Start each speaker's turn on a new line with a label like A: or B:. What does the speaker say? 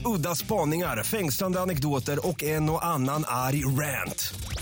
A: Udda spaningar, fängslande anekdoter och en och annan arg rant.